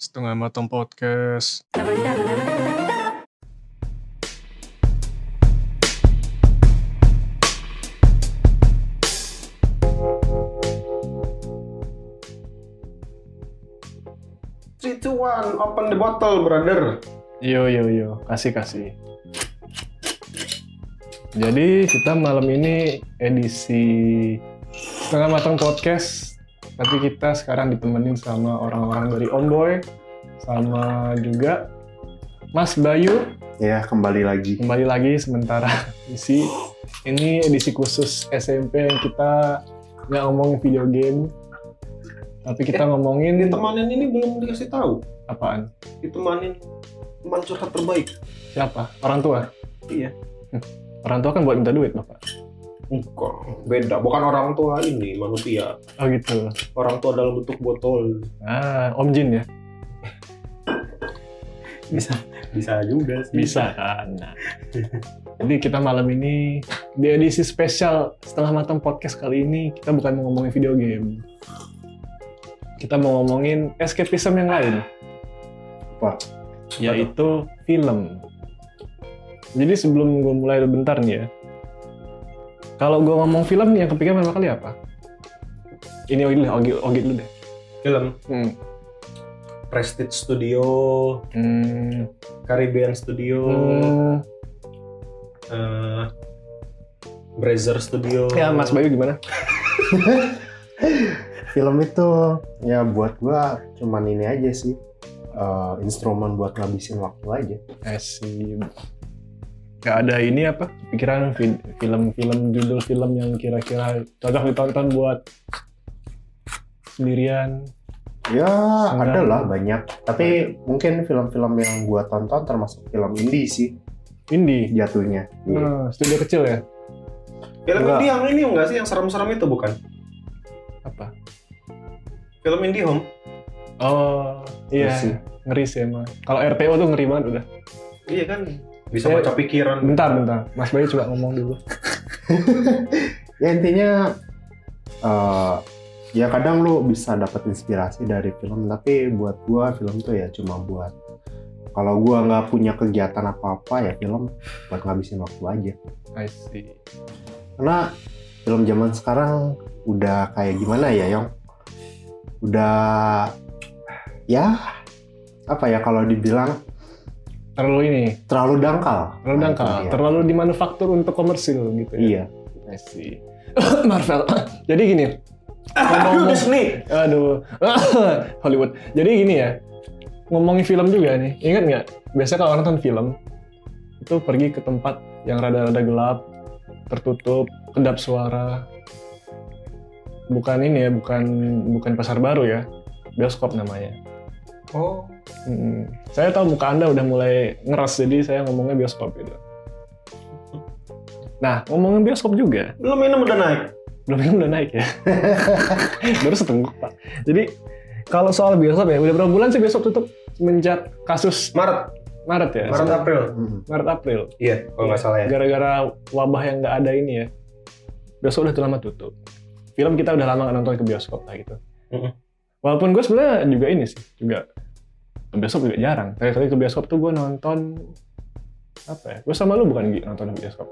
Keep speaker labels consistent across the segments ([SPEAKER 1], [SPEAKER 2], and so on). [SPEAKER 1] Setengah Matang Podcast.
[SPEAKER 2] Three, two, one, open the bottle, brother.
[SPEAKER 1] Yo yo yo, kasih kasih. Jadi kita malam ini edisi Setengah Matang Podcast. Tapi kita sekarang ditemenin sama orang-orang dari Omboy, sama juga Mas Bayu
[SPEAKER 2] Ya, kembali lagi.
[SPEAKER 1] kembali lagi sementara isi ini edisi khusus SMP yang kita nggak ngomongin video game, tapi kita ngomongin
[SPEAKER 2] Temanin Eh, ini belum dikasih tahu.
[SPEAKER 1] apaan?
[SPEAKER 2] Ditemanin teman curhat terbaik.
[SPEAKER 1] Siapa? Orang tua.
[SPEAKER 2] Iya.
[SPEAKER 1] Orang tua kan buat minta duit, Bapak.
[SPEAKER 2] Bukan, beda. Bukan orang tua ini, manusia.
[SPEAKER 1] Oh gitu.
[SPEAKER 2] Orang tua dalam bentuk botol.
[SPEAKER 1] Ah, Om Jin ya?
[SPEAKER 2] Bisa. Bisa juga sih.
[SPEAKER 1] kan. Jadi kita malam ini di edisi spesial setelah matang podcast kali ini kita bukan mau ngomongin video game. Kita mau ngomongin escapism yang lain.
[SPEAKER 2] Apa?
[SPEAKER 1] Yaitu film. Jadi sebelum gue mulai bentar nih ya. Kalau gue ngomong film yang kepikiran pertama kali apa? Ini Ogi dulu, Ogi, Ogi dulu deh.
[SPEAKER 2] Film
[SPEAKER 1] Hmm.
[SPEAKER 2] Prestige Studio,
[SPEAKER 1] Hmm.
[SPEAKER 2] Caribbean Studio,
[SPEAKER 1] Hmm.
[SPEAKER 2] eh, Brazzer Studio.
[SPEAKER 1] Ya Mas Bayu gimana?
[SPEAKER 3] film itu ya buat gua cuman ini aja sih eh, instrumen buat ngabisin waktu aja
[SPEAKER 1] Asik. Gak Eh, ada ini apa? Pikiran fi- film-film judul film yang kira-kira cocok ditonton buat sendirian.
[SPEAKER 3] ya
[SPEAKER 1] Senang.
[SPEAKER 3] ada lah banyak tapi mungkin film-film yang gua tonton termasuk film indie sih
[SPEAKER 1] Indie.
[SPEAKER 3] jatuhnya Iya.
[SPEAKER 1] Nah, studio kecil ya?
[SPEAKER 2] Film
[SPEAKER 3] Enggak.
[SPEAKER 2] indie yang ini enggak sih yang serem-serem itu bukan?
[SPEAKER 1] Apa?
[SPEAKER 2] Film indie home.
[SPEAKER 1] Oh, iya.
[SPEAKER 3] Ngeri sih.
[SPEAKER 1] Ngeri sih emang. Kalau RPO tuh ngeri banget udah.
[SPEAKER 2] Iya kan? Bisa
[SPEAKER 1] Saya-
[SPEAKER 2] baca pikiran.
[SPEAKER 1] Bentar, bentar. Mas Bayu coba ngomong dulu.
[SPEAKER 3] ya intinya eh, ya kadang lu bisa dapat inspirasi dari film tapi buat gua film tuh ya cuma buat kalau gua nggak punya kegiatan apa-apa ya film buat ngabisin waktu aja
[SPEAKER 1] I see.
[SPEAKER 3] karena film zaman sekarang udah kayak gimana ya Yong udah ya apa ya kalau dibilang
[SPEAKER 1] Terlalu ini,
[SPEAKER 3] terlalu dangkal
[SPEAKER 1] terlalu
[SPEAKER 3] Nah,
[SPEAKER 1] dangkal,
[SPEAKER 3] itu dia.
[SPEAKER 1] terlalu dimanufaktur untuk komersil gitu ya.
[SPEAKER 3] iya
[SPEAKER 1] I see. Marvel. Jadi gini, ngomong-
[SPEAKER 2] Disney.
[SPEAKER 1] Aduh, Hollywood. Jadi gini ya, ngomongin film juga nih. Ingat nggak? Biasanya kalau orang nonton film, itu pergi ke tempat yang rada-rada gelap, tertutup, kedap suara. Bukan ini ya, bukan bukan pasar baru ya, bioskop namanya.
[SPEAKER 2] Oh,
[SPEAKER 1] Mm-mm. Saya tahu muka anda udah mulai ngeras, jadi saya ngomongnya bioskop gitu. Nah, ngomongin bioskop juga,
[SPEAKER 2] belum minum udah naik.
[SPEAKER 1] belum minum udah naik ya baru setengah pak jadi kalau soal bioskop ya udah berapa bulan sih bioskop tutup semenjak kasus
[SPEAKER 2] Maret,
[SPEAKER 1] Maret ya
[SPEAKER 2] Maret April.
[SPEAKER 3] Mm.
[SPEAKER 1] Maret April
[SPEAKER 2] Iya, kalau nggak salah ya.
[SPEAKER 1] gara-gara wabah yang nggak ada ini ya bioskop udah lama tutup film kita udah lama nggak nonton ke bioskop lah gitu
[SPEAKER 2] Mm-mm.
[SPEAKER 1] walaupun gue sebenarnya juga ini sih juga ke bioskop juga jarang terakhir kali ke bioskop tuh gue nonton apa ya gue sama lu bukan Gi, nonton ke bioskop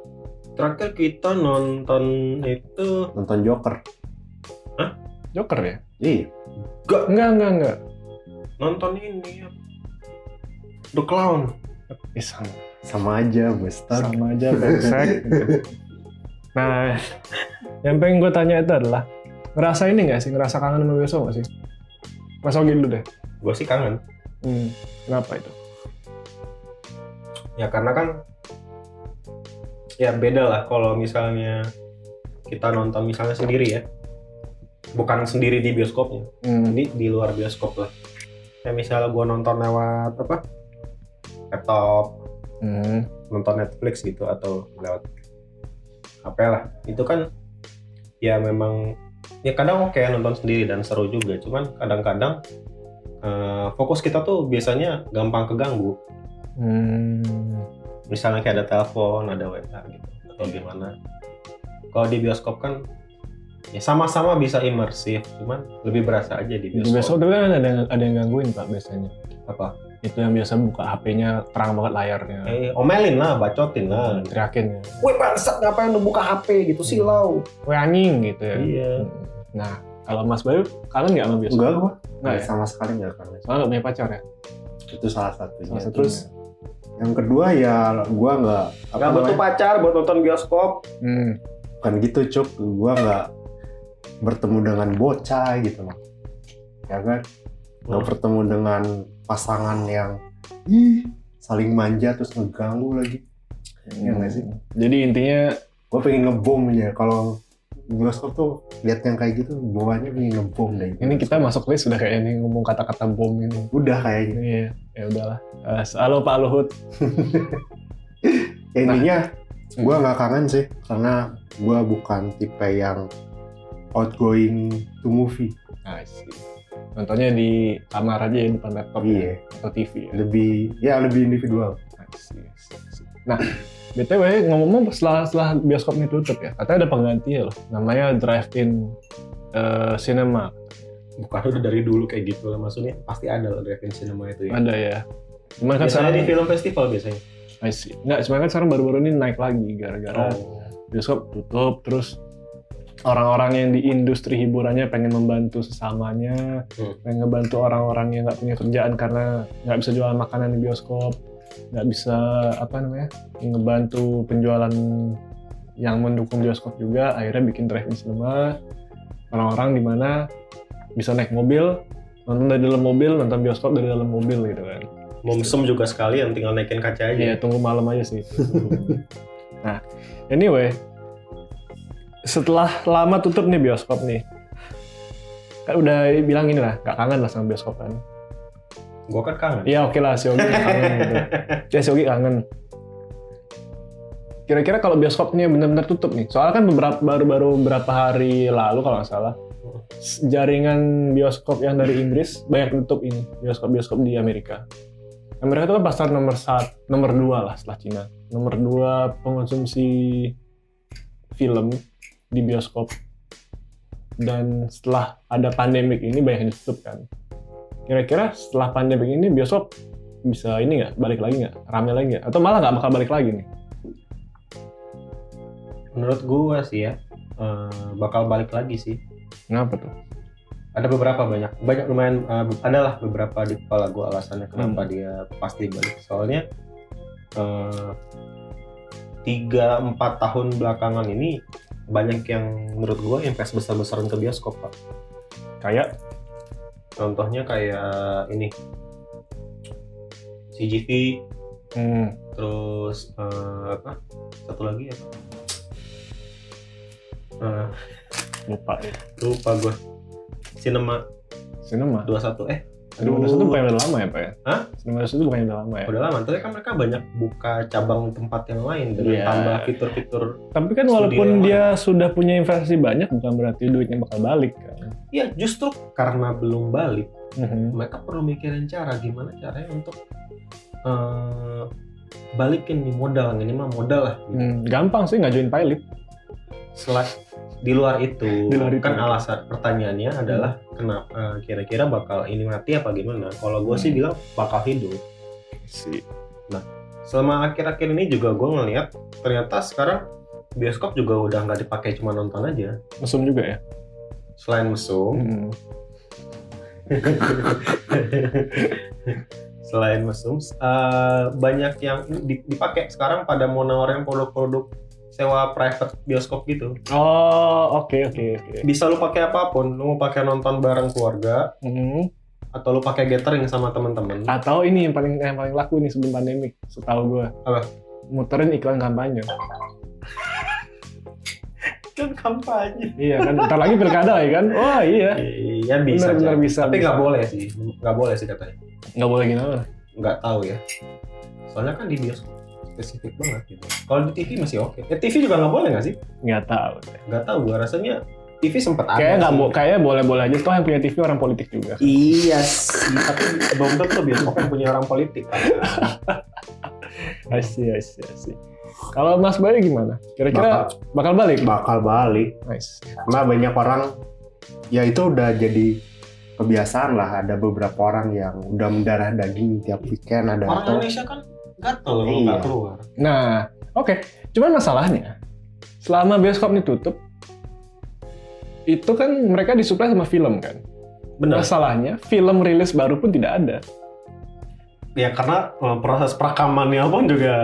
[SPEAKER 2] Terakhir kita nonton itu
[SPEAKER 3] nonton Joker
[SPEAKER 1] Joker ya
[SPEAKER 3] iya
[SPEAKER 1] enggak enggak enggak
[SPEAKER 2] nonton ini apa? The Clown.
[SPEAKER 1] eh, sama
[SPEAKER 3] sama aja Buster
[SPEAKER 1] sama aja brengsek gitu. nah yang pengen gue tanya itu adalah ngerasa ini nggak sih ngerasa kangen sama besok nggak sih Mas Ogi dulu deh
[SPEAKER 2] Gue sih kangen.
[SPEAKER 1] hmm, kenapa itu
[SPEAKER 2] Ya karena kan ya beda lah kalau misalnya kita nonton misalnya sendiri ya. Bukan sendiri di bioskopnya,
[SPEAKER 1] hmm.
[SPEAKER 2] jadi di luar bioskop lah. Kayak misalnya gue nonton lewat apa? Laptop,
[SPEAKER 1] Hmm.
[SPEAKER 2] nonton Netflix gitu atau lewat HP lah itu kan ya memang ya kadang oke nonton sendiri dan seru juga cuman kadang-kadang eh, fokus kita tuh biasanya gampang keganggu
[SPEAKER 1] Hmm.
[SPEAKER 2] misalnya kayak ada telepon ada WA gitu atau gimana kalau di bioskop kan ya sama-sama bisa imersif cuman lebih berasa aja di
[SPEAKER 1] Di bioskop
[SPEAKER 2] bioskop,
[SPEAKER 1] tapi kan ada yang, ada yang gangguin pak biasanya.
[SPEAKER 2] apa
[SPEAKER 1] Itu yang biasa buka HP-nya terang banget layarnya,
[SPEAKER 2] eh, omelin lah bacotin lah
[SPEAKER 1] teriakin ya.
[SPEAKER 2] Woi bangsat ngapain lu buka HP gitu silau
[SPEAKER 1] "Weh, anjing gitu ya.
[SPEAKER 2] iya
[SPEAKER 1] Nah kalau Mas Bayu kangen nggak sama bioskop?
[SPEAKER 3] Enggak gua.
[SPEAKER 1] Nggak ya?
[SPEAKER 3] Sama sekali enggak kangen.
[SPEAKER 1] Soalnya nggak punya pacar ya.
[SPEAKER 3] Itu salah satunya.
[SPEAKER 1] Salah satu. Iya, Terus?
[SPEAKER 3] yang kedua ya gua nggak apa
[SPEAKER 2] Gak butuh
[SPEAKER 3] namanya,
[SPEAKER 2] pacar buat nonton bioskop.
[SPEAKER 1] Hmm.
[SPEAKER 3] bukan gitu cuk gua nggak bertemu dengan bocah gitu loh ya kan nggak
[SPEAKER 2] Hmm.
[SPEAKER 3] bertemu dengan pasangan yang ih saling manja terus ngeganggu lagi Iya nggak sih?
[SPEAKER 1] Jadi intinya
[SPEAKER 3] gue pengen ngebom ya kalau bioskop tuh lihat yang kayak gitu bawaannya pengen ngebom deh
[SPEAKER 1] ini kita masuk list sudah kayaknya nih ngomong kata-kata bom ini.
[SPEAKER 3] udah kayaknya
[SPEAKER 1] Iya, ya udahlah. Eh, halo Pak Luhut.
[SPEAKER 2] Nah.
[SPEAKER 3] Ya, intinya
[SPEAKER 1] Hmm.
[SPEAKER 3] gue nggak kangen sih karena gue bukan tipe yang outgoing to movie
[SPEAKER 1] Nah,
[SPEAKER 2] Ah,
[SPEAKER 1] sih. Nontonnya di kamar aja ya depan laptop ya,
[SPEAKER 3] iya
[SPEAKER 1] atau TV ya. Ah,
[SPEAKER 3] lebih ya lebih individual
[SPEAKER 1] I see, I see, I see. Nah, BTW ngomong-ngomong setelah, setelah bioskop ini tutup ya, katanya ada penggantinya loh, namanya Drive-In eh, Cinema.
[SPEAKER 2] Bukan udah dari dulu kayak gitu lah maksudnya pasti ada lah drive-in cinema itu ya.
[SPEAKER 1] Ada ya. Cuman kan
[SPEAKER 2] Biasanya
[SPEAKER 1] sekarang,
[SPEAKER 2] di film festival biasanya.
[SPEAKER 1] I see. Nggak, cuman kan sekarang baru-baru ini naik lagi
[SPEAKER 2] Oh.
[SPEAKER 1] gara-gara
[SPEAKER 2] Ah,
[SPEAKER 1] bioskop tutup, terus orang-orang yang di industri hiburannya pengen membantu sesamanya,
[SPEAKER 2] Hmm.
[SPEAKER 1] pengen ngebantu orang-orang yang nggak punya kerjaan karena nggak bisa jualan makanan di bioskop, nggak bisa apa namanya ngebantu penjualan yang mendukung bioskop juga, akhirnya bikin drive-in cinema orang-orang di mana bisa naik mobil nonton dari dalam mobil nonton bioskop dari dalam mobil gitu kan
[SPEAKER 2] Momsum juga sekalian tinggal naikin kaca
[SPEAKER 1] Iya
[SPEAKER 2] aja.
[SPEAKER 1] tunggu malam aja sih. nah, anyway, setelah lama tutup nih bioskop nih, kan udah bilang ini lah, gak kangen lah sama bioskop kan.
[SPEAKER 2] Gua kan kangen.
[SPEAKER 1] Iya oke lah, si Ogi kangen gitu. Ya si Ogi kangen. Kira-kira kalau bioskopnya benar-benar tutup nih, soalnya kan beberapa baru-baru beberapa hari lalu kalau nggak salah, s- jaringan bioskop yang dari Inggris banyak tutup ini bioskop-bioskop di Amerika. Amerika itu kan pasar nomor satu, nomor dua lah setelah Cina. Nomor dua pengonsumsi film di bioskop. Dan setelah ada pandemik ini banyak yang ditutup kan kira-kira setelah pandemi ini bioskop bisa ini nggak balik lagi nggak rame lagi nggak atau malah nggak bakal balik lagi nih
[SPEAKER 2] Menurut gua sih ya eh, bakal balik lagi sih.
[SPEAKER 1] kenapa tuh
[SPEAKER 2] Ada beberapa banyak, banyak lumayan eh, adalah beberapa di kepala gua alasannya kenapa
[SPEAKER 1] Hmm.
[SPEAKER 2] dia pasti balik. Soalnya eh, tiga empat tahun belakangan ini banyak yang menurut gua invest besar-besaran ke bioskop pak.
[SPEAKER 1] kayak
[SPEAKER 2] Contohnya kayak ini CGV,
[SPEAKER 1] hmm,
[SPEAKER 2] terus eh, apa? Satu lagi ya. Eh,
[SPEAKER 1] lupa
[SPEAKER 2] lupa gue. Cinema
[SPEAKER 1] sinema
[SPEAKER 2] 21 eh
[SPEAKER 1] aduh
[SPEAKER 2] Aduh.
[SPEAKER 1] itu bukan yang udah lama ya pak ya
[SPEAKER 2] Hah?
[SPEAKER 1] sinema itu bukan yang udah lama ya
[SPEAKER 2] udah lama tapi kan mereka banyak buka cabang tempat yang lain dengan
[SPEAKER 1] Iya.
[SPEAKER 2] tambah fitur-fitur
[SPEAKER 1] tapi kan
[SPEAKER 2] Studio yang
[SPEAKER 1] walaupun
[SPEAKER 2] lama.
[SPEAKER 1] dia sudah punya investasi banyak bukan berarti duitnya bakal balik kan
[SPEAKER 2] ya justru karena belum balik
[SPEAKER 1] Mhm.
[SPEAKER 2] mereka perlu mikirin cara gimana caranya untuk eh, balikin nih modal ini mah modal lah gitu.
[SPEAKER 1] Hmm, gampang sih ngajuin pilot
[SPEAKER 2] Selain di luar itu,
[SPEAKER 1] Di luar itu. Hmm.
[SPEAKER 2] kan alasan pertanyaannya adalah kenapa eh, kira-kira bakal ini mati apa gimana? Kalau gue sih
[SPEAKER 1] Hmm.
[SPEAKER 2] bilang bakal hidup.
[SPEAKER 1] sih
[SPEAKER 2] Selama akhir-akhir ini juga gue ngeliat ternyata sekarang bioskop juga udah nggak dipakai cuma nonton aja.
[SPEAKER 1] mesum juga ya
[SPEAKER 2] Selain mesum,
[SPEAKER 1] Mhm.
[SPEAKER 2] selain mesum, eh, banyak yang di- dipakai sekarang pada mau nawarin produk-produk sewa private bioskop gitu.
[SPEAKER 1] oh oke oke oke
[SPEAKER 2] Bisa lu pakai apapun, lu mau pakai nonton bareng keluarga
[SPEAKER 1] Mhm.
[SPEAKER 2] atau lu pakai gathering sama temen-temen.
[SPEAKER 1] atau ini yang paling yang paling laku nih sebelum pandemik setahu gue
[SPEAKER 2] Apa?
[SPEAKER 1] muterin iklan kampanye
[SPEAKER 2] kan kampanye.
[SPEAKER 1] Iya kan, ntar lagi pilkada ya kan? Wah iya.
[SPEAKER 2] Iya bisa.
[SPEAKER 1] Bener-bener
[SPEAKER 2] Jack.
[SPEAKER 1] bisa.
[SPEAKER 2] Tapi
[SPEAKER 1] bisa.
[SPEAKER 2] nggak boleh sih, nggak boleh sih katanya.
[SPEAKER 1] Nggak boleh gini apa?
[SPEAKER 2] Nggak tahu ya. Soalnya kan di bioskop spesifik banget gitu. Kalau di TV masih oke. Eh, TV juga nggak boleh nggak sih?
[SPEAKER 1] Nggak tahu. deh.
[SPEAKER 2] Nggak tahu. Gua rasanya TV sempat ada.
[SPEAKER 1] Kayaknya nggak
[SPEAKER 2] sih.
[SPEAKER 1] bo kayaknya boleh-boleh aja. Toh yang punya TV orang politik juga.
[SPEAKER 2] Iya sih, tapi belum tentu bioskop yang punya orang politik.
[SPEAKER 1] I see, I see, I see. Kalau Mas Bayu gimana? Kira-kira
[SPEAKER 3] Bakal,
[SPEAKER 1] bakal balik?
[SPEAKER 3] bakal balik.
[SPEAKER 1] Nice.
[SPEAKER 3] Karena banyak orang, ya itu udah jadi kebiasaan lah. Ada beberapa orang yang udah mendarah daging tiap weekend. Ada
[SPEAKER 2] Orang
[SPEAKER 3] atau
[SPEAKER 2] Indonesia kan gatel kalau
[SPEAKER 3] Iya.
[SPEAKER 2] nggak keluar.
[SPEAKER 1] Nah, oke. Cuman masalahnya, selama bioskop ini tutup, itu kan mereka disuplai sama film kan.
[SPEAKER 2] Benar.
[SPEAKER 1] Masalahnya, film rilis baru pun tidak ada.
[SPEAKER 2] Ya karena eh, proses perekamannya pun juga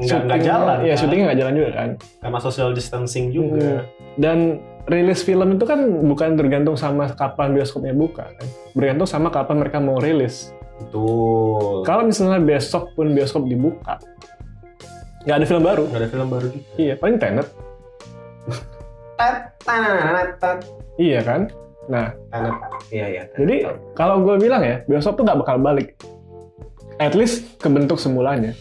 [SPEAKER 2] nggak nggak jalan.
[SPEAKER 1] Iya,
[SPEAKER 2] kan?
[SPEAKER 1] syutingnya nggak jalan juga kan.
[SPEAKER 2] Karena social distancing juga.
[SPEAKER 1] Dan rilis film itu kan bukan tergantung sama kapan bioskopnya buka, kan? bergantung sama kapan mereka mau rilis.
[SPEAKER 2] Iya. Betul.
[SPEAKER 1] Kalau misalnya besok pun bioskop dibuka, nggak ada film baru.
[SPEAKER 2] Nggak ada film baru juga.
[SPEAKER 1] Iya, paling Tenet.
[SPEAKER 2] Tat, tananana, tat,
[SPEAKER 1] Iya kan? Nah,
[SPEAKER 2] tanat. Iya iya. tat.
[SPEAKER 1] Jadi kalau gue bilang ya, bioskop tuh nggak bakal balik. At least kebentuk semulanya.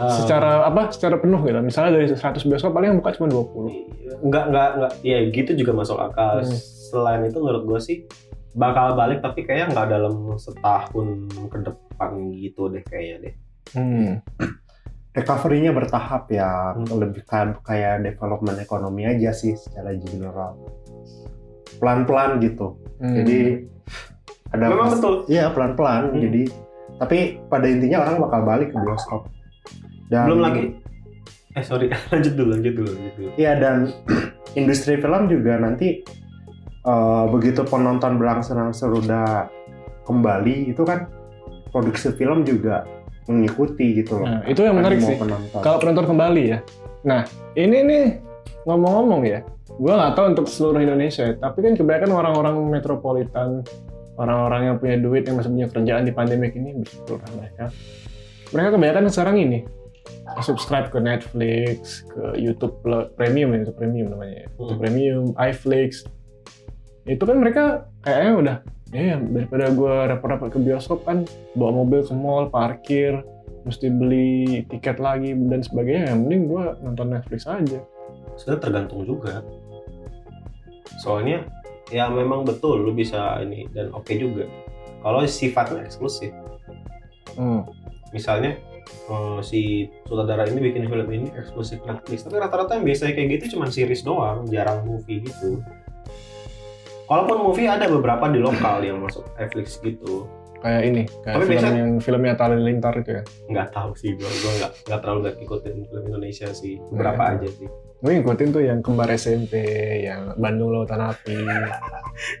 [SPEAKER 3] Ah.
[SPEAKER 2] Eh,
[SPEAKER 1] Secara apa? Secara penuh gitu. Misalnya dari 100 bioskop paling yang buka cuma 20.
[SPEAKER 2] nggak nggak nggak ya gitu juga masuk akal
[SPEAKER 1] Hmm.
[SPEAKER 2] selain itu menurut gue sih bakal balik tapi kayaknya nggak dalam setahun ke depan gitu deh kayaknya deh
[SPEAKER 1] Hmm.
[SPEAKER 3] recovery-nya bertahap ya.
[SPEAKER 2] Hmm.
[SPEAKER 3] Lebih ka- kayak development ekonomi aja sih secara general. Pelan-pelan gitu.
[SPEAKER 1] Hmm.
[SPEAKER 3] Jadi ada
[SPEAKER 2] Hmm. memang betul
[SPEAKER 3] Iya pelan-pelan.
[SPEAKER 2] Hmm.
[SPEAKER 3] Jadi tapi pada intinya orang bakal balik ke bioskop. Dan,
[SPEAKER 2] belum lagi eh sorry lanjut dulu lanjut dulu lanjut dulu
[SPEAKER 3] Iya dan industri film juga nanti eh, begitu penonton berangsur-angsur udah kembali itu kan produksi film juga mengikuti gitu loh.
[SPEAKER 1] Nah, itu yang menarik
[SPEAKER 3] Animo
[SPEAKER 1] sih.
[SPEAKER 3] penonton.
[SPEAKER 1] Kalau penonton kembali ya. Nah, ini nih ngomong-ngomong ya, gue nggak tahu untuk seluruh Indonesia, ya, tapi kan kebanyakan orang-orang metropolitan, orang-orang yang punya duit yang masih punya kerjaan di pandemik ini bersyukur lah mereka. Mereka kebanyakan sekarang ini subscribe ke Netflix, ke YouTube Pl- Premium ya, itu Premium namanya, ya. YouTube
[SPEAKER 2] Hmm.
[SPEAKER 1] Premium, iFlix. Itu kan mereka kayaknya udah, ya daripada gue repot-repot ke bioskop kan, bawa mobil ke mall, parkir, mesti beli tiket lagi dan sebagainya yang mending gue nonton Netflix aja
[SPEAKER 2] sebenarnya tergantung juga soalnya ya memang betul lu bisa ini dan oke juga kalau sifatnya eksklusif
[SPEAKER 1] Hmm,
[SPEAKER 2] misalnya eh, si sutradara ini bikin film ini eksklusif Netflix tapi rata-rata yang biasanya kayak gitu cuman series doang jarang movie gitu walaupun movie ada beberapa di lokal yang masuk Netflix gitu
[SPEAKER 1] kayak ini kayak
[SPEAKER 2] Tapi
[SPEAKER 1] film
[SPEAKER 2] biasa-
[SPEAKER 1] yang filmnya Tali Lintar itu ya
[SPEAKER 2] nggak tahu sih gue gue nggak nggak terlalu nggak ngikutin film Indonesia sih beberapa
[SPEAKER 1] Iya.
[SPEAKER 2] aja sih
[SPEAKER 1] gue ngikutin tuh yang kembar SMP yang Bandung Lautan Api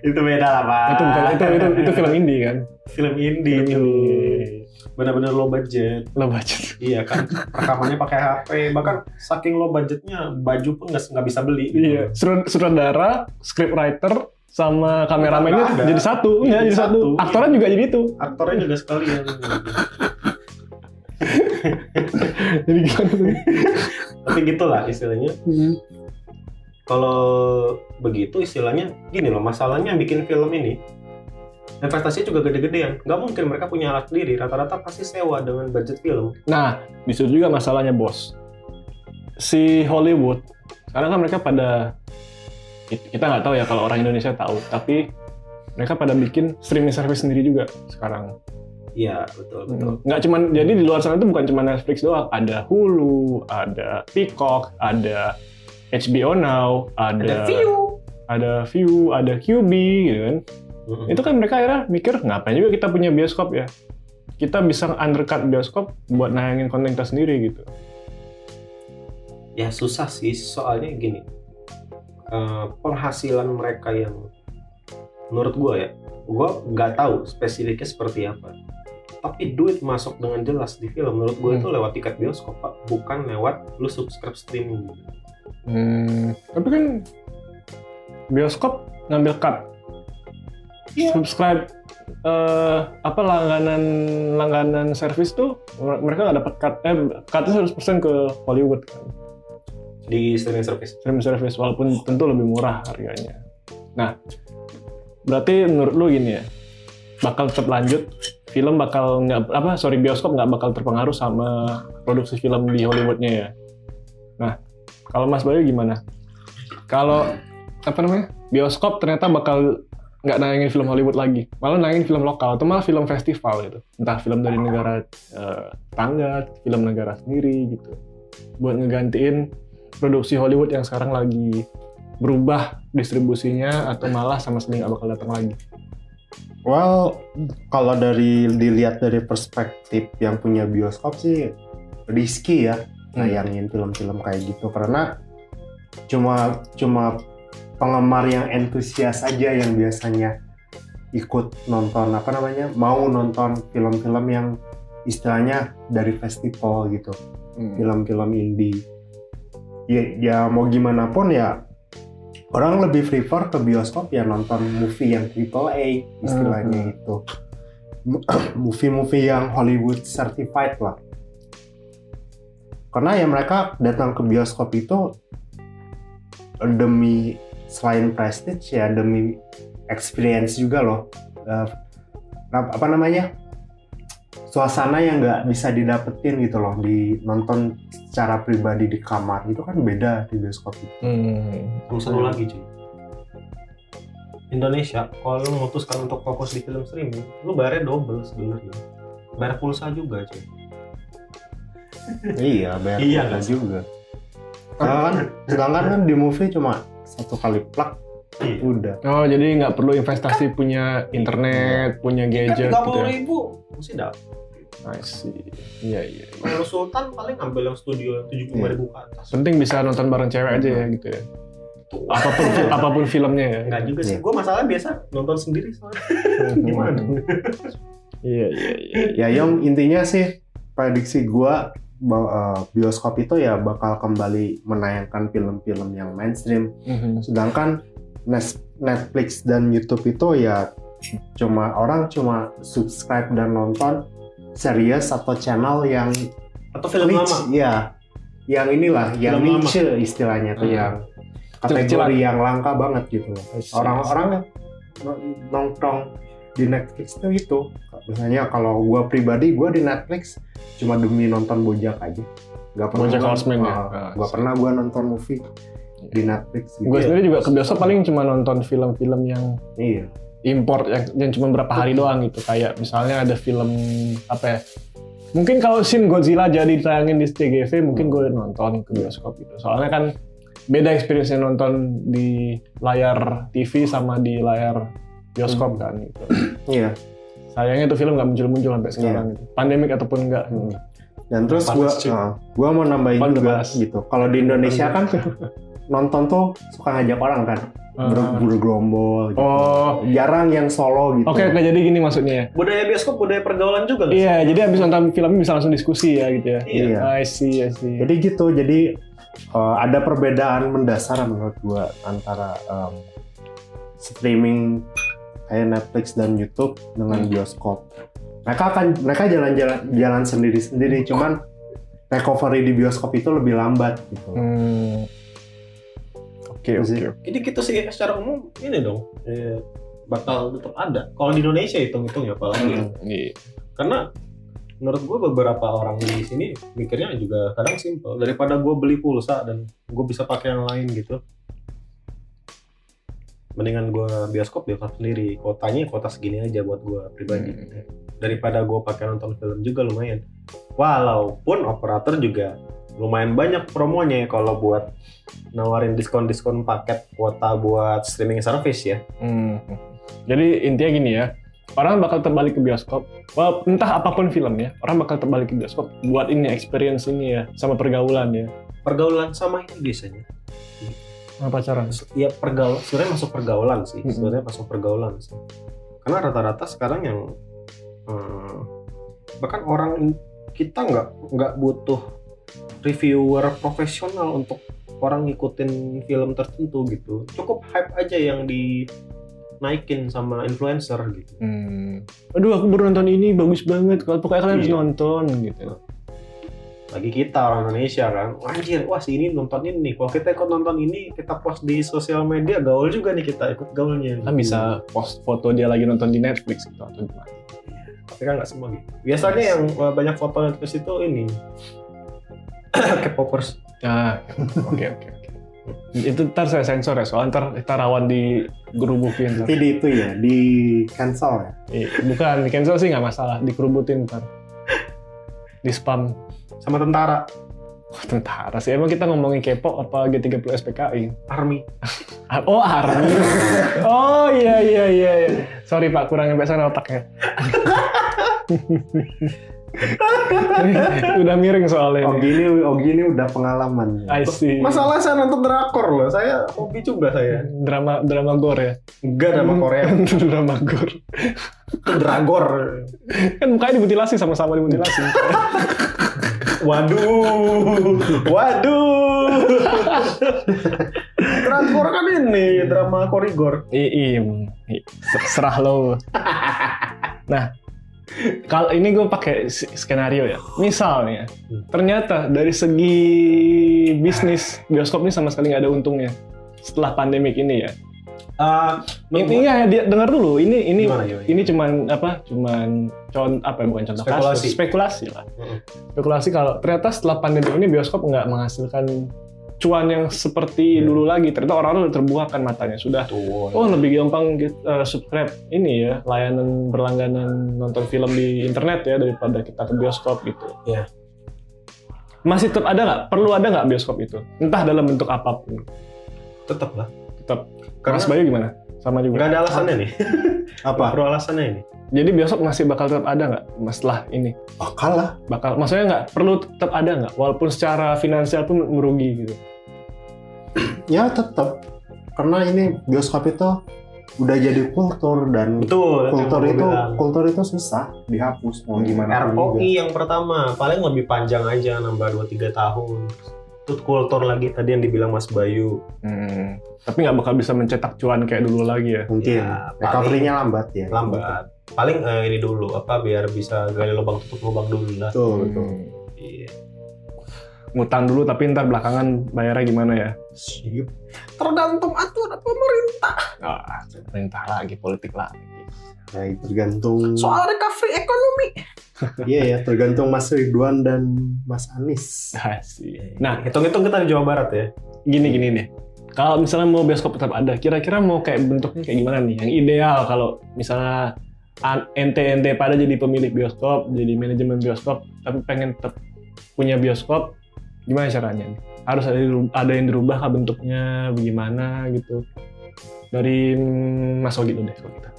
[SPEAKER 2] itu beda lah pak
[SPEAKER 1] itu bukan itu, itu itu film indie kan
[SPEAKER 2] film indie
[SPEAKER 1] Film
[SPEAKER 2] itu
[SPEAKER 1] indie.
[SPEAKER 2] benar-benar low budget
[SPEAKER 1] lo budget
[SPEAKER 2] iya kan rekamannya pakai HP bahkan saking low budgetnya baju pun nggak nggak bisa beli gitu.
[SPEAKER 1] iya Sutradara, sutradara scriptwriter sama kameramennya
[SPEAKER 2] Nggak ada.
[SPEAKER 1] jadi satu
[SPEAKER 2] Iya,
[SPEAKER 1] enggak jadi
[SPEAKER 2] jadi
[SPEAKER 1] satu
[SPEAKER 2] satu.
[SPEAKER 1] aktornya juga jadi itu
[SPEAKER 2] aktornya juga sekalian gitu.
[SPEAKER 1] jadi gitu. gimana tuh
[SPEAKER 2] tapi gitulah istilahnya
[SPEAKER 1] Hmm.
[SPEAKER 2] kalau begitu istilahnya gini loh masalahnya yang bikin film ini investasinya juga gede-gedean nggak mungkin mereka punya alat sendiri rata-rata pasti sewa dengan budget film
[SPEAKER 1] Nah, disitu juga masalahnya bos. Si Hollywood, sekarang kan mereka pada kita nggak tahu ya kalau orang Indonesia tahu, tapi mereka pada bikin streaming service sendiri juga sekarang.
[SPEAKER 2] iya betul betul
[SPEAKER 1] Nggak cuman jadi di luar sana itu bukan cuma Netflix doang, ada Hulu, ada Peacock, ada HBO Now, ada
[SPEAKER 2] view
[SPEAKER 1] ada View, ada QB gitu kan. Itu kan mereka akhirnya mikir ngapain juga kita punya bioskop ya. Kita bisa undercut bioskop buat nayangin konten kita sendiri gitu.
[SPEAKER 2] ya susah sih soalnya gini eh, penghasilan mereka yang menurut gua ya gua nggak tahu spesifiknya seperti apa tapi duit masuk dengan jelas di film menurut gua
[SPEAKER 1] Hmm.
[SPEAKER 2] itu lewat tiket bioskop pak bukan lewat lu subscribe streaming
[SPEAKER 1] Hmm, tapi kan bioskop ngambil cut.
[SPEAKER 2] Iya.
[SPEAKER 1] Subscribe eh, apa langganan langganan service tuh mer- mereka nggak dapat cut eh cutnya 100% ke Hollywood kan.
[SPEAKER 2] di streaming service
[SPEAKER 1] Streaming service walaupun tentu lebih murah harganya. Nah, berarti menurut lu gini ya. Bakal tetap lanjut film bakal nggak apa sorry bioskop nggak bakal terpengaruh sama produksi film di Hollywoodnya ya. Nah, kalau Mas Bayu gimana? Kalau apa namanya bioskop ternyata bakal nggak nayangin film Hollywood lagi, malah nayangin film lokal atau malah film festival gitu, entah film dari negara eh, tetangga, film negara sendiri gitu. buat ngegantiin produksi Hollywood yang sekarang lagi berubah distribusinya atau malah sama sekali nggak bakal datang lagi.
[SPEAKER 3] Well, kalau dari dilihat dari perspektif yang punya bioskop sih risky ya nayangin film-film kayak gitu karena cuma cuma penggemar yang antusias aja yang biasanya ikut nonton apa namanya mau nonton film-film yang istilahnya dari festival gitu film-film indie ya, ya mau gimana pun ya orang lebih prefer ke bioskop ya nonton movie yang triple A istilahnya itu movie-movie yang Hollywood certified lah karena ya mereka datang ke bioskop itu demi selain prestige ya demi experience juga loh Eh, apa namanya suasana yang nggak bisa didapetin gitu loh di nonton secara pribadi di kamar itu kan beda di bioskop itu.
[SPEAKER 1] Hmm.
[SPEAKER 2] Sama satu lagi cuy. Indonesia, kalau lu memutuskan untuk fokus di film streaming, lu bayarnya double sebenarnya. Bayar pulsa juga cuy.
[SPEAKER 3] iya bayar
[SPEAKER 2] Iya,
[SPEAKER 3] pulsa
[SPEAKER 2] kan?
[SPEAKER 3] juga sedangkan kan sedangkan kan di movie cuma satu kali plak
[SPEAKER 2] Iya.
[SPEAKER 3] udah
[SPEAKER 1] Oh jadi nggak perlu investasi punya internet, punya
[SPEAKER 2] Iya.
[SPEAKER 3] Iya,
[SPEAKER 1] gadget
[SPEAKER 2] tiga
[SPEAKER 1] gitu.
[SPEAKER 2] puluh
[SPEAKER 1] Ya.
[SPEAKER 2] ribu mesti dah.
[SPEAKER 1] I see. Iya iya.
[SPEAKER 2] Kalau Sultan paling ngambil yang studio tujuh puluh ribu
[SPEAKER 3] Iya.
[SPEAKER 2] ke atas.
[SPEAKER 1] Penting bisa nonton bareng cewek aja ya gitu ya. Apapun apapun filmnya ya.
[SPEAKER 2] Enggak juga sih,
[SPEAKER 3] Iya.
[SPEAKER 2] gue masalah biasa nonton sendiri soalnya. Gimana?
[SPEAKER 1] Iya iya iya.
[SPEAKER 3] ya yang intinya sih prediksi gua bahwa eh, bioskop itu ya bakal kembali menayangkan film-film yang mainstream
[SPEAKER 1] Mhm.
[SPEAKER 3] sedangkan Nes- Netflix dan YouTube itu ya cuma orang cuma subscribe dan nonton series atau channel yang
[SPEAKER 2] Atau film
[SPEAKER 3] Niche,
[SPEAKER 2] lama.
[SPEAKER 3] Iya. Yang inilah, yang
[SPEAKER 2] Film lama.
[SPEAKER 3] niche istilahnya tuh
[SPEAKER 1] Hmm.
[SPEAKER 3] yang kategori
[SPEAKER 1] Kecil-kecilan.
[SPEAKER 3] yang langka banget gitu. loh.
[SPEAKER 1] I see.
[SPEAKER 3] Orang-orang nong- nongkrong di Netflix tuh itu. Misalnya kalau gua pribadi, gua di Netflix cuma demi nonton Bojack aja. Gak pernah
[SPEAKER 1] Bojack
[SPEAKER 3] gua-
[SPEAKER 1] Horseman ya?
[SPEAKER 3] Ah,
[SPEAKER 1] Ah, Iya.
[SPEAKER 3] gua
[SPEAKER 1] see.
[SPEAKER 3] pernah gua nonton movie di Netflix gitu.
[SPEAKER 1] Gue sendiri juga kebiasa paling cuma nonton film-film yang
[SPEAKER 3] Iya.
[SPEAKER 1] import yang, yang cuma berapa hari doang gitu kayak misalnya ada film apa ya mungkin kalau Shin Godzilla jadi ditayangin di CGV mungkin gue nonton ke bioskop gitu soalnya kan beda experience nonton di layar TV sama di layar bioskop kan gitu
[SPEAKER 3] Iya.
[SPEAKER 1] sayangnya tuh film nggak muncul-muncul sampai sekarang gitu. pandemik ataupun gitu. enggak
[SPEAKER 3] Hmm. Dan terus
[SPEAKER 2] Panas,
[SPEAKER 3] gua
[SPEAKER 2] cuy.
[SPEAKER 3] ah, gua mau nambahin
[SPEAKER 1] Panas,
[SPEAKER 3] juga
[SPEAKER 1] panas.
[SPEAKER 3] gitu. Kalau di Indonesia kan nonton tuh suka ngajak orang kan, ber- bergerombol gitu.
[SPEAKER 1] Ah. oh
[SPEAKER 3] jarang yang solo gitu.
[SPEAKER 1] oke oke jadi gini maksudnya ya
[SPEAKER 2] Budaya bioskop, budaya pergaulan juga nggak sih?
[SPEAKER 1] iya jadi abis nonton filmnya bisa langsung diskusi ya gitu ya
[SPEAKER 3] Iya.
[SPEAKER 1] I see I see
[SPEAKER 3] Jadi gitu, jadi eh, ada perbedaan mendasar menurut gua antara em, streaming kayak Netflix dan YouTube dengan
[SPEAKER 1] Hmm.
[SPEAKER 3] bioskop. Mereka akan mereka jalan-jalan jalan sendiri-sendiri, cuman recovery di bioskop itu lebih lambat gitu.
[SPEAKER 1] Hmm. oke oke
[SPEAKER 3] Itu Iya sih.
[SPEAKER 1] oke.
[SPEAKER 2] Jadi kita sih secara umum ini dong eh, bakal tetap ada. Kalau di Indonesia hitung-hitung ya apalagi.
[SPEAKER 3] Hmm.
[SPEAKER 1] Iya.
[SPEAKER 2] karena menurut gue beberapa orang di sini mikirnya juga kadang simpel daripada gue beli pulsa dan gue bisa pakai yang lain gitu mendingan gue bioskop bioskop sendiri kotanya kota segini aja buat gue pribadi
[SPEAKER 1] Hmm.
[SPEAKER 2] daripada gue pakai nonton film juga lumayan walaupun operator juga lumayan banyak promonya ya kalau buat nawarin diskon-diskon paket kuota buat streaming service ya
[SPEAKER 1] Hmm. Jadi intinya gini ya, orang bakal terbalik ke bioskop. Well, entah apapun filmnya, orang bakal terbalik ke bioskop buat ini experience ini ya, sama pergaulan ya,
[SPEAKER 2] pergaulan sama ini biasanya
[SPEAKER 1] sama pacaran.
[SPEAKER 2] ya pergaul sebenarnya masuk pergaulan sih
[SPEAKER 1] Mm-mm.
[SPEAKER 2] sebenarnya masuk pergaulan sih karena rata-rata sekarang yang eh, bahkan orang in- kita nggak nggak butuh reviewer profesional untuk orang ngikutin film tertentu gitu cukup hype aja yang dinaikin sama influencer gitu
[SPEAKER 1] Hmm. Aduh, aku baru nonton ini bagus banget. Kalau pokoknya kalian harus
[SPEAKER 2] Iya.
[SPEAKER 1] nonton gitu.
[SPEAKER 2] lagi kita orang Indonesia kan "Wah, anjir wah si ini nonton ini kalau kita ikut nonton ini kita post di sosial media gaul juga nih kita ikut gaulnya
[SPEAKER 1] Kan bisa post foto dia lagi nonton di Netflix gitu atau gimana.
[SPEAKER 2] tapi kan nggak semua gitu biasanya yang uh, banyak foto Netflix itu ini K-popers
[SPEAKER 1] Nah, oke oke oke. Itu ntar saya sensor ya, soalnya ntar kita rawan di gerubukin.
[SPEAKER 3] Tapi di itu ya di cancel ya.
[SPEAKER 1] Iya, Bukan, di cancel sih nggak masalah, dikerubutin ntar. Di spam.
[SPEAKER 2] sama tentara
[SPEAKER 1] Wah, tentara sih. Emang kita ngomongin kepo apa G30 SPKI?
[SPEAKER 2] Army.
[SPEAKER 1] Ar- Oh, Army. oh, iya, iya, iya. iya. Sorry, Pak. Kurang nyampe sana otaknya. Udah miring soalnya. ini.
[SPEAKER 3] Ogi ini, Ogi ini udah pengalaman.
[SPEAKER 1] I see.
[SPEAKER 2] Masalah saya nonton drakor loh. Saya hobi juga saya.
[SPEAKER 1] Drama drama gore ya?
[SPEAKER 2] Enggak drama
[SPEAKER 3] Hmm.
[SPEAKER 2] Korea.
[SPEAKER 1] drama gore.
[SPEAKER 2] Itu dragor.
[SPEAKER 1] Kan mukanya dimutilasi sama-sama dimutilasi.
[SPEAKER 2] Waduh. Waduh. Dragor kan
[SPEAKER 3] Iya.
[SPEAKER 2] ini drama korigor.
[SPEAKER 1] I- Iya, Bang. I- ser- serah lo. Nah, kalau ini gue pakai s- skenario ya. Misalnya, ternyata dari segi bisnis bioskop ini sama sekali nggak ada untungnya setelah pandemik ini ya.
[SPEAKER 2] Ah,
[SPEAKER 1] Ini ya, dia dengar dulu. Ini ini
[SPEAKER 2] Gimana, gimana?
[SPEAKER 1] ini cuman apa? Cuman con apa ya, bukan contoh kasus.
[SPEAKER 2] Spekulasi.
[SPEAKER 1] spekulasi lah.
[SPEAKER 2] Mm.
[SPEAKER 1] Spekulasi kalau ternyata setelah pandemi ini bioskop nggak menghasilkan cuan yang seperti
[SPEAKER 2] Iya.
[SPEAKER 1] dulu lagi. Ternyata orang-orang udah terbuahkan matanya sudah
[SPEAKER 2] tuh.
[SPEAKER 1] Oh lebih gampang get- eh, subscribe ini ya layanan berlangganan nonton film di internet ya daripada kita ke bioskop gitu.
[SPEAKER 2] Iya.
[SPEAKER 1] Masih tetap ada nggak? Perlu ada nggak bioskop itu? Entah dalam bentuk apapun.
[SPEAKER 2] Tetap lah.
[SPEAKER 1] Tetap.
[SPEAKER 2] Karena
[SPEAKER 1] Mas Bayu gimana? Sama juga.
[SPEAKER 2] nggak ada alasannya nih. Nggak
[SPEAKER 3] Apa?
[SPEAKER 2] perlu alasannya ini.
[SPEAKER 1] Jadi bioskop masih bakal tetap ada nggak? Mas, Setelah ini
[SPEAKER 3] Bakal lah.
[SPEAKER 1] bakal. Maksudnya nggak perlu tetap ada nggak? Walaupun secara finansial pun merugi gitu.
[SPEAKER 3] Ya tetap. Karena ini bioskop itu udah jadi kultur dan
[SPEAKER 2] Betul.
[SPEAKER 3] kultur
[SPEAKER 2] yang Hmm,
[SPEAKER 3] itu
[SPEAKER 2] gua bilang.
[SPEAKER 3] kultur itu susah dihapus mau gimana pun juga.
[SPEAKER 2] ROI yang pertama paling lebih panjang aja nambah 2-3 tahun terus kultur lagi tadi yang dibilang Mas Bayu
[SPEAKER 1] Hmm, Tapi nggak bakal bisa mencetak cuan kayak dulu lagi ya.
[SPEAKER 3] mungkin
[SPEAKER 2] Ya, paling-
[SPEAKER 3] recovery-nya lambat ya
[SPEAKER 2] lambat paling eh, ini dulu apa biar bisa gali lubang tutup lubang dulu lah
[SPEAKER 3] betul Oh, betul
[SPEAKER 2] Iya.
[SPEAKER 1] Hmm. Ngutang dulu tapi ntar belakangan bayarnya gimana ya?
[SPEAKER 3] Sip.
[SPEAKER 2] tergantung aturan pemerintah
[SPEAKER 1] Ah, perintah lagi, politik lagi.
[SPEAKER 3] Nah, itu tergantung
[SPEAKER 2] recovery ekonomi
[SPEAKER 3] iya ya tergantung Mas Ridwan dan Mas Anies
[SPEAKER 1] Nah, nah
[SPEAKER 2] nah hitung-hitung kita di Jawa Barat ya
[SPEAKER 1] gini gini deh. Kalau misalnya mau bioskop tetap ada, kira-kira mau kayak bentuknya kayak gimana nih? Yang ideal kalau misalnya an- ente-ente pada jadi pemilik bioskop, jadi manajemen bioskop, tapi pengen tetap punya bioskop, gimana caranya? nih? Harus ada diru- ada yang dirubah kah bentuknya, bagaimana gitu? Dari mm, Mas Ogi dulu deh kalau kita.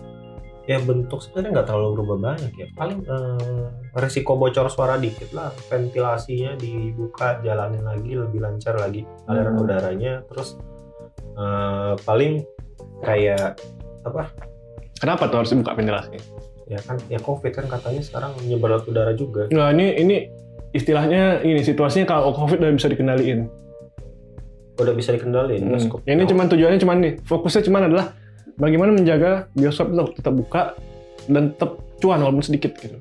[SPEAKER 2] ya bentuk sebenarnya nggak terlalu berubah banyak ya paling eh, resiko bocor suara dikit lah ventilasinya dibuka jalanin lagi lebih lancar lagi aliran
[SPEAKER 1] Hmm.
[SPEAKER 2] udaranya terus eh, paling kayak apa
[SPEAKER 1] Kenapa tuh harus dibuka ventilasi?
[SPEAKER 2] ya kan ya covid kan katanya sekarang menyebar lewat udara juga
[SPEAKER 1] Nah ini ini istilahnya ini situasinya kalau covid udah bisa dikendaliin.
[SPEAKER 2] udah bisa dikendaliin
[SPEAKER 1] Hmm.
[SPEAKER 2] bioskop. Oh.
[SPEAKER 1] Ini cuman tujuannya cuman nih, fokusnya cuman adalah bagaimana menjaga bioskop tetap, tetap buka dan tetap cuan walaupun sedikit gitu.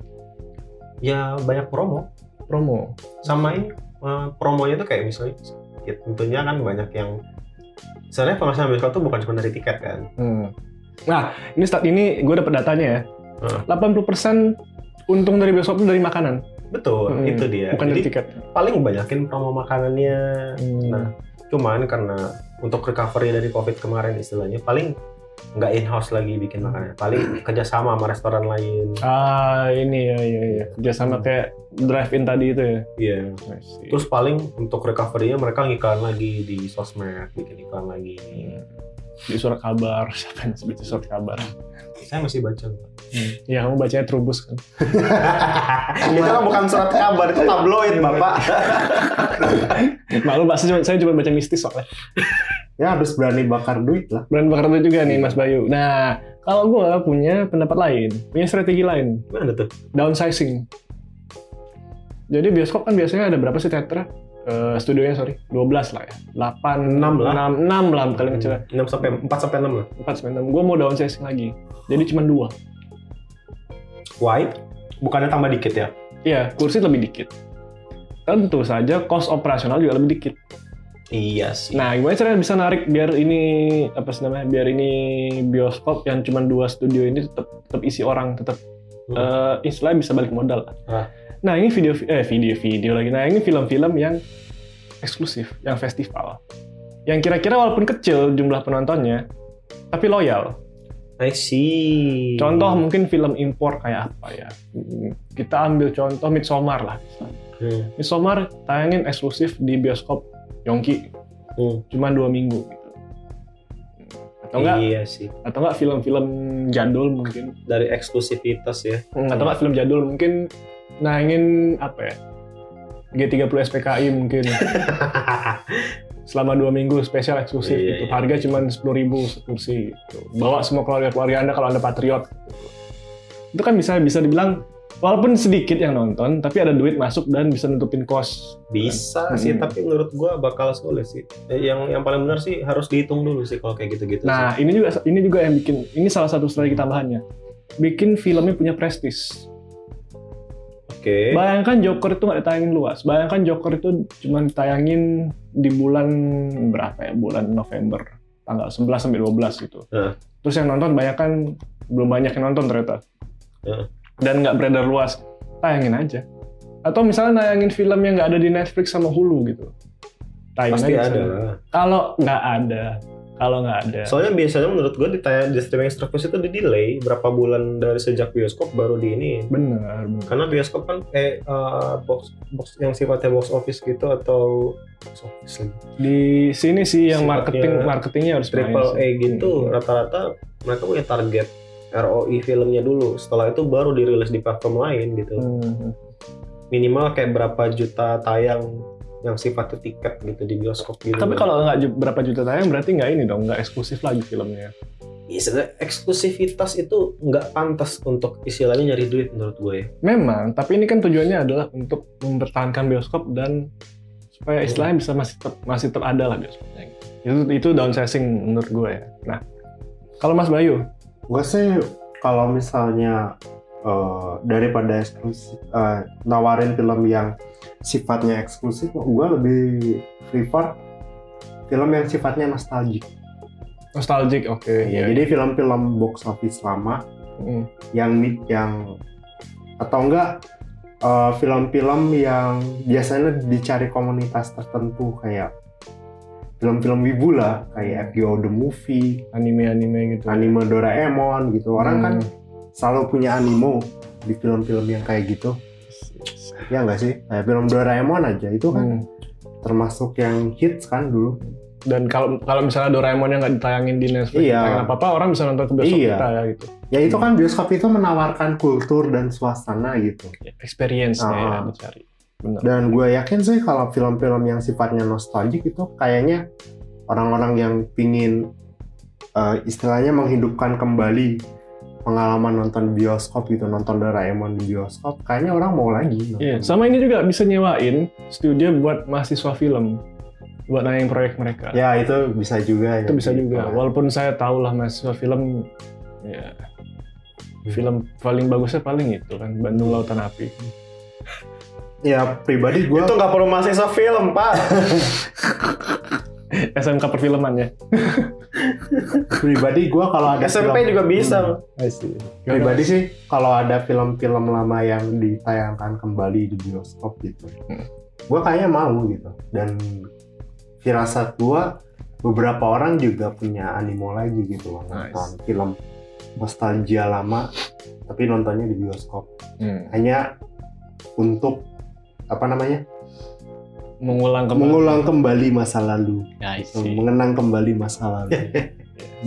[SPEAKER 2] ya banyak promo
[SPEAKER 1] Promo.
[SPEAKER 2] sama ini eh, promonya tuh kayak misalnya ya tentunya kan banyak yang sebenarnya pemasukan bioskop tuh bukan cuma dari tiket kan
[SPEAKER 1] Nah, ini saat ini gue dapet datanya ya.
[SPEAKER 2] Hmm.
[SPEAKER 1] 80% untung dari bioskop itu dari makanan,
[SPEAKER 2] betul
[SPEAKER 1] Hmm.
[SPEAKER 2] itu dia
[SPEAKER 1] bukan dari
[SPEAKER 2] Ya, jadi
[SPEAKER 1] tiket.
[SPEAKER 2] paling banyakin promo makanannya
[SPEAKER 1] Hmm.
[SPEAKER 2] Nah, cuman karena untuk recovery dari covid kemarin istilahnya paling nggak in house lagi bikin makanan paling kerjasama sama restoran lain
[SPEAKER 1] Ah, ini ya ya ya. Kerjasama kayak drive in tadi itu ya.
[SPEAKER 2] iya Hmm. terus paling untuk recovery-nya mereka ngiklan lagi di sosmed bikin iklan lagi
[SPEAKER 1] di surat kabar, siapa yang sebut surat kabar?
[SPEAKER 2] saya masih baca Pak.
[SPEAKER 1] Ya kamu bacanya Trubus kan?
[SPEAKER 2] itu kan bukan surat kabar itu tabloid
[SPEAKER 3] Iya,
[SPEAKER 2] bapak
[SPEAKER 1] Malu bahasa cuma- saya cuma baca mistis soalnya.
[SPEAKER 3] ya harus berani bakar duit lah
[SPEAKER 1] Brand bakar itu juga nih
[SPEAKER 2] Iya.
[SPEAKER 1] Mas Bayu. Nah, kalau gua punya pendapat lain, punya strategi lain,
[SPEAKER 2] gimana tuh
[SPEAKER 1] downsizing. Jadi bioskop kan biasanya ada berapa sih teater? Eh, studionya sorry, 12 lah ya. 8,
[SPEAKER 2] Enam
[SPEAKER 1] 6
[SPEAKER 2] lah.
[SPEAKER 1] 6, 6 lah paling kecil.
[SPEAKER 2] 6 sampai 4 sampai 6 lah
[SPEAKER 1] 4 sampai 6. Gua mau downsizing lagi. Jadi cuma dua.
[SPEAKER 2] why bukannya tambah dikit ya
[SPEAKER 1] Iya, kursi lebih dikit. Tentu saja cost operasional juga lebih dikit.
[SPEAKER 2] iya sih
[SPEAKER 1] Nah, gimana caranya bisa narik biar ini apa sih namanya? Biar ini bioskop yang cuma dua studio ini tetap tetap isi orang, tetap eh, istilahnya bisa balik modal.
[SPEAKER 2] Ah.
[SPEAKER 1] Nah, ini video eh video video lagi. Nah, ini film-film yang eksklusif, yang festival. Yang kira-kira walaupun kecil jumlah penontonnya, tapi loyal.
[SPEAKER 2] Nah, I see. Hmm,
[SPEAKER 1] Contoh mungkin film impor kayak apa ya? Kita ambil contoh Midsommar lah.
[SPEAKER 2] Hmm,
[SPEAKER 1] Midsommar tayangin eksklusif di bioskop Yongki
[SPEAKER 2] hmm.
[SPEAKER 1] cuma dua minggu gitu. Atau enggak?
[SPEAKER 2] Iya sih.
[SPEAKER 1] Atau enggak film-film jadul mungkin?
[SPEAKER 2] Dari eksklusivitas ya.
[SPEAKER 1] Atau enggak film jadul mungkin nayangin apa ya? G30 SPKI mungkin selama dua minggu spesial eksklusif
[SPEAKER 2] Iya,
[SPEAKER 1] gitu.
[SPEAKER 2] iya.
[SPEAKER 1] Harga cuma sepuluh ribu kursi. Gitu. Bawa semua keluarga-keluarga anda kalau anda patriot. gitu. Itu kan bisa bisa dibilang walaupun sedikit yang nonton, tapi ada duit masuk dan bisa nutupin kos.
[SPEAKER 2] Bisa sih,
[SPEAKER 1] Hmm.
[SPEAKER 2] tapi menurut gua bakal sulit sih. Eh, Yang yang paling benar sih harus dihitung dulu sih kalau kayak gitu-gitu.
[SPEAKER 1] Nah, ini juga ini juga yang bikin ini salah satu strategi tambahannya. Bikin filmnya punya prestis.
[SPEAKER 2] sih. oke.
[SPEAKER 1] Bayangkan Joker itu nggak ditayangin luas. Bayangkan Joker itu cuma ditayangin di bulan berapa ya? Bulan November tanggal 11 sampai 12 gitu.
[SPEAKER 2] Heeh.
[SPEAKER 1] Terus yang nonton bayangkan belum banyak yang nonton ternyata.
[SPEAKER 2] Heeh.
[SPEAKER 1] Dan nggak beredar luas. Tayangin aja. Atau misalnya nayangin film yang nggak ada di Netflix sama Hulu gitu. Tayangin
[SPEAKER 2] Pasti
[SPEAKER 1] aja di
[SPEAKER 2] ada
[SPEAKER 1] sana.
[SPEAKER 2] lah.
[SPEAKER 1] Kalau nggak ada, kalau nggak ada.
[SPEAKER 2] Soalnya biasanya menurut gua ditayang di streaming service itu di delay berapa bulan dari sejak bioskop baru di ini.
[SPEAKER 1] bener, bener.
[SPEAKER 2] Karena bioskop kan eh eh, box box yang sifatnya box office gitu atau box office lagi.
[SPEAKER 1] di sini iya. sih yang
[SPEAKER 2] Sifatnya
[SPEAKER 1] marketing marketingnya harus main
[SPEAKER 2] triple A
[SPEAKER 1] sih.
[SPEAKER 2] gitu
[SPEAKER 1] Hmm.
[SPEAKER 2] rata-rata mereka punya target ROI filmnya dulu setelah itu baru dirilis di platform lain gitu
[SPEAKER 1] Hmm.
[SPEAKER 2] minimal kayak berapa juta tayang yang sifatnya tiket gitu di bioskop gitu
[SPEAKER 1] Tapi kalau nggak ju- berapa juta tayang berarti nggak ini dong, nggak eksklusif lagi filmnya.
[SPEAKER 2] ya, sebenarnya eksklusivitas itu nggak pantas untuk istilahnya nyari duit menurut gue ya.
[SPEAKER 1] Memang, tapi ini kan tujuannya adalah untuk mempertahankan bioskop dan supaya istilahnya bisa masih tetap masih tetap ada lah bioskopnya. gitu. Itu itu downsizing menurut gue ya. Nah, kalau Mas Bayu,
[SPEAKER 3] Gue sih kalau misalnya eh, daripada eksklusif eh, nawarin film yang sifatnya eksklusif, gue lebih prefer film yang sifatnya nostalgic.
[SPEAKER 1] nostalgic, oke. gitu.
[SPEAKER 3] Ya, jadi film-film box office lama
[SPEAKER 1] Hmm.
[SPEAKER 3] yang mid- yang atau enggak eh, film-film yang biasanya dicari komunitas tertentu kayak film-film wibu lah kayak FGO the Movie,
[SPEAKER 1] anime-anime gitu.
[SPEAKER 3] anime Doraemon gitu. Orang kan
[SPEAKER 1] Hmm.
[SPEAKER 3] selalu punya animo di film-film yang kayak gitu ya nggak sih kayak film Doraemon aja itu kan
[SPEAKER 1] Hmm.
[SPEAKER 3] termasuk yang hits kan dulu
[SPEAKER 1] Dan kalau kalau misalnya Doraemon yang nggak ditayangin di Netflix,
[SPEAKER 3] Iya.
[SPEAKER 1] ditayangin apa-apa orang bisa nonton ke bioskop
[SPEAKER 3] Iya.
[SPEAKER 1] kita ya gitu.
[SPEAKER 3] ya itu kan bioskop itu menawarkan kultur dan suasana gitu
[SPEAKER 1] Ya, experience-nya
[SPEAKER 3] Ah.
[SPEAKER 1] yang ada cari. Benar.
[SPEAKER 3] dan gue yakin sih kalau film-film yang sifatnya nostalgic itu kayaknya orang-orang yang pingin eh, istilahnya menghidupkan kembali pengalaman nonton bioskop gitu nonton Doraemon di bioskop kayaknya orang mau lagi nonton.
[SPEAKER 1] Iya, sama ini juga bisa nyewain studio buat mahasiswa film buat nayangin proyek mereka.
[SPEAKER 3] ya itu bisa juga
[SPEAKER 1] Itu
[SPEAKER 3] ya.
[SPEAKER 1] bisa juga. Walaupun saya tahu lah mahasiswa film ya film paling bagusnya paling itu kan Bandung Lautan Api.
[SPEAKER 3] ya pribadi gue
[SPEAKER 2] itu nggak perlu mahasiswa film pak
[SPEAKER 1] SMK perfilman ya.
[SPEAKER 3] pribadi gue kalau ada
[SPEAKER 2] SMP
[SPEAKER 3] film-
[SPEAKER 2] juga bisa
[SPEAKER 3] Hmm. pribadi sih kalau ada film-film lama yang ditayangkan kembali di bioskop gitu
[SPEAKER 1] Hmm.
[SPEAKER 3] gue kayaknya mau gitu dan firasat gue beberapa orang juga punya animo lagi gitu loh
[SPEAKER 1] Nice.
[SPEAKER 3] nonton film nostalgia lama tapi nontonnya di bioskop
[SPEAKER 1] Hmm.
[SPEAKER 3] hanya untuk apa namanya
[SPEAKER 1] Mengulang kembali.
[SPEAKER 3] mengulang kembali masa lalu
[SPEAKER 1] Ya,
[SPEAKER 3] gitu,
[SPEAKER 1] isi.
[SPEAKER 3] mengenang kembali masa lalu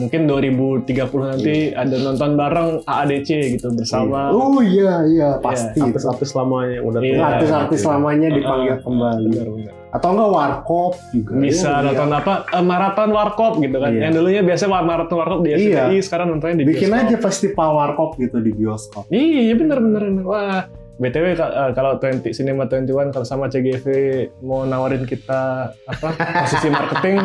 [SPEAKER 1] Mungkin 2030 nanti ada nonton bareng AADC gitu bersama. Ya,
[SPEAKER 3] oh iya iya pasti itu.
[SPEAKER 2] artis-artis lamanya yang udah
[SPEAKER 1] Iya.
[SPEAKER 2] tua.
[SPEAKER 3] artis-artis lamanya dipanggil
[SPEAKER 1] Ah,
[SPEAKER 3] kembali
[SPEAKER 1] benar-benar.
[SPEAKER 3] atau enggak warkop juga
[SPEAKER 1] Bisa
[SPEAKER 3] Ya,
[SPEAKER 1] nonton apa? eh, maraton warkop gitu kan.
[SPEAKER 3] Iya.
[SPEAKER 1] Yang dulunya biasa maraton warkop di SCTI,
[SPEAKER 3] Iya.
[SPEAKER 1] sekarang nontonnya di
[SPEAKER 3] bikin
[SPEAKER 1] bioskop.
[SPEAKER 3] aja festival warkop gitu di bioskop
[SPEAKER 1] Iya bener bener bener. Wah BTW ka- eh, kalau 20 Cinema 21 kalau sama CGV mau nawarin kita apa posisi marketing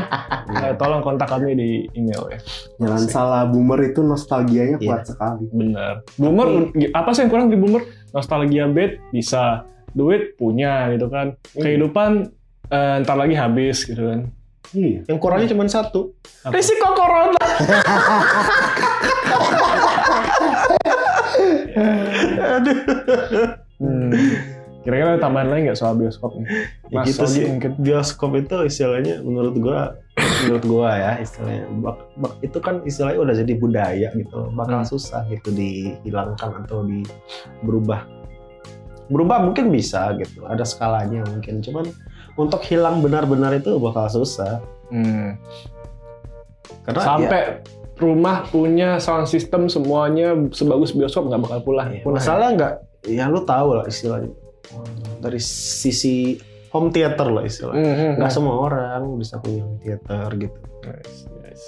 [SPEAKER 1] eh, tolong kontak kami di email ya.
[SPEAKER 3] jangan
[SPEAKER 1] Asik. Iya.
[SPEAKER 3] salah boomer itu nostalgianya kuat sekali
[SPEAKER 1] Bener. Boomer apa sih yang kurang di boomer? Nostalgia bed bisa, duit punya gitu kan. Kehidupan eh, ntar lagi habis gitu kan.
[SPEAKER 3] iya
[SPEAKER 2] yang kurangnya cuma satu
[SPEAKER 1] Apa?
[SPEAKER 2] risiko corona aduh
[SPEAKER 1] Hmm. Kira-kira ada tambahan lain nggak soal bioskop nih?
[SPEAKER 2] Ya
[SPEAKER 1] Mas
[SPEAKER 2] gitu
[SPEAKER 1] Ogi
[SPEAKER 2] sih.
[SPEAKER 1] mungkin.
[SPEAKER 2] Bioskop itu istilahnya menurut gua menurut gua ya istilahnya bak- bak- itu kan istilahnya udah jadi budaya gitu loh. bakal
[SPEAKER 1] Hmm.
[SPEAKER 2] susah gitu dihilangkan atau di berubah berubah mungkin bisa gitu ada skalanya mungkin cuman untuk hilang benar-benar itu bakal susah
[SPEAKER 1] Hmm.
[SPEAKER 2] karena ya,
[SPEAKER 1] Sampai rumah punya sound system semuanya sebagus bioskop nggak bakal pulang.
[SPEAKER 2] ya,
[SPEAKER 1] punah.
[SPEAKER 2] masalah nggak ya lu tahu lah istilahnya dari sisi home theater lah istilahnya
[SPEAKER 1] Hmm, hmm,
[SPEAKER 2] nggak
[SPEAKER 1] hmm.
[SPEAKER 2] semua orang bisa punya home theater gitu
[SPEAKER 1] Nice, nice.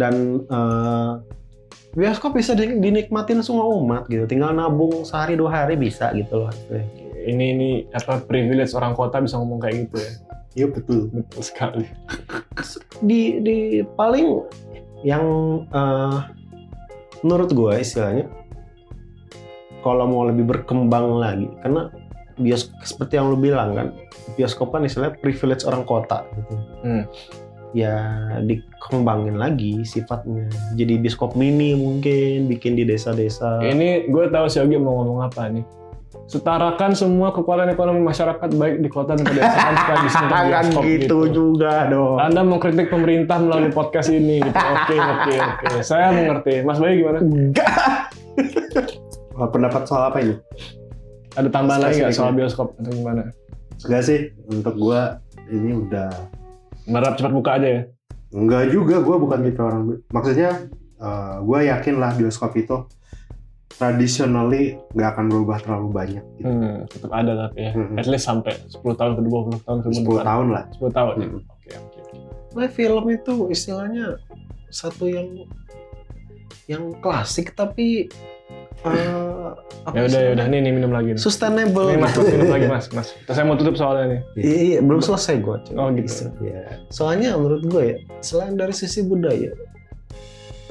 [SPEAKER 2] dan eh, bioskop bisa di- dinikmatin semua umat gitu tinggal nabung sehari dua hari bisa gitu loh
[SPEAKER 1] Ini ini apa privilege orang kota bisa ngomong kayak gitu ya.
[SPEAKER 3] Iya betul.
[SPEAKER 1] Betul sekali.
[SPEAKER 2] di di paling yang eh, menurut gua istilahnya kalau mau lebih berkembang lagi karena bioskop seperti yang lu bilang kan bioskop kan istilahnya privilege orang kota gitu
[SPEAKER 1] Hmm.
[SPEAKER 2] ya dikembangin lagi sifatnya jadi bioskop mini mungkin bikin di desa-desa
[SPEAKER 1] Eh, Ini gue tahu si Ogi mau ngomong apa nih. Setarakan semua kekuatan ekonomi masyarakat baik di kota dan pedesaan supaya bisa untuk
[SPEAKER 2] kan
[SPEAKER 1] bioskop
[SPEAKER 2] gitu juga dong
[SPEAKER 1] Anda mengkritik pemerintah melalui podcast ini gitu. Oke, oke, oke. Saya mengerti. Mas Bayu gimana?
[SPEAKER 2] Enggak.
[SPEAKER 3] Eh, Pendapat soal apa ini?
[SPEAKER 1] Ada tambahan lagi nggak
[SPEAKER 3] Spesifiknya.
[SPEAKER 1] soal bioskop atau gimana?
[SPEAKER 3] Enggak sih, untuk gua ini udah
[SPEAKER 1] Berharap cepat buka aja ya.
[SPEAKER 3] Enggak juga, gue bukan tipe orang. Maksudnya, eh, gue yakin lah bioskop itu traditionally nggak akan berubah terlalu banyak. Gitu.
[SPEAKER 1] Hmm, tetap ada tapi ya.
[SPEAKER 3] Hmm.
[SPEAKER 1] At least sampai 10 tahun ke 20 tahun ke
[SPEAKER 3] 10 tahun lah.
[SPEAKER 1] 10 tahun. ya?
[SPEAKER 3] Hmm.
[SPEAKER 1] Oke, oke.
[SPEAKER 2] Nah, film itu istilahnya satu yang yang klasik tapi eh, apa
[SPEAKER 1] Ya udah
[SPEAKER 2] sih?
[SPEAKER 1] ya udah nih, nih minum lagi nih.
[SPEAKER 2] sustainable.
[SPEAKER 1] Nih, Mas,
[SPEAKER 2] gitu.
[SPEAKER 1] Mas, minum lagi Mas, Mas. Terus saya mau tutup soalnya nih.
[SPEAKER 2] Iya, iya, belum selesai gue.
[SPEAKER 1] Oh, gitu.
[SPEAKER 3] Ya.
[SPEAKER 2] Soalnya menurut gue ya, selain dari sisi budaya,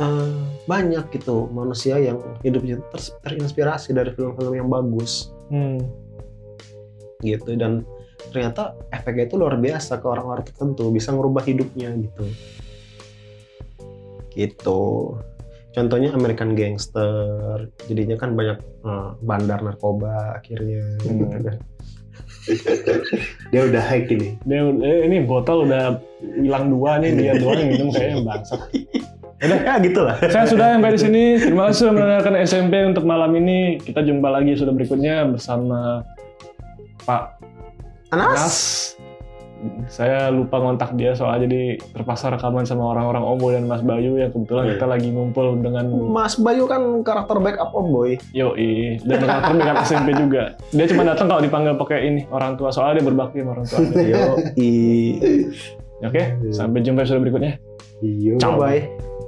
[SPEAKER 2] eh, banyak gitu manusia yang hidupnya ter- terinspirasi dari film-film yang bagus.
[SPEAKER 1] Hmm.
[SPEAKER 2] gitu dan ternyata efeknya itu luar biasa ke orang-orang tertentu bisa ngerubah hidupnya gitu gitu contohnya American Gangster jadinya kan banyak eh, bandar narkoba akhirnya
[SPEAKER 1] Hmm.
[SPEAKER 2] gitu kan.
[SPEAKER 3] Dia udah high ini.
[SPEAKER 1] Dia, eh, ini botol udah hilang dua nih, dia doang yang minum kayaknya bangsat.
[SPEAKER 2] udah ya gitu lah
[SPEAKER 1] Saya sudah sampai di sini. Terima kasih sudah mendengarkan SMP untuk malam ini. Kita jumpa lagi sudah berikutnya bersama Pak
[SPEAKER 2] Anas
[SPEAKER 1] Nas. Saya lupa ngontak dia soalnya jadi terpaksa rekaman sama orang-orang Ombo dan Mas Bayu yang kebetulan kita lagi ngumpul dengan
[SPEAKER 2] Mas Bayu kan karakter backup om boy
[SPEAKER 1] Yoi dan karakter backup SMP juga. Dia cuma datang kalau dipanggil pakai ini orang tua soalnya dia berbakti sama orang tua.
[SPEAKER 2] yo i Iya.
[SPEAKER 1] Oke, sampai jumpa sudah berikutnya.
[SPEAKER 3] Iya.
[SPEAKER 2] bye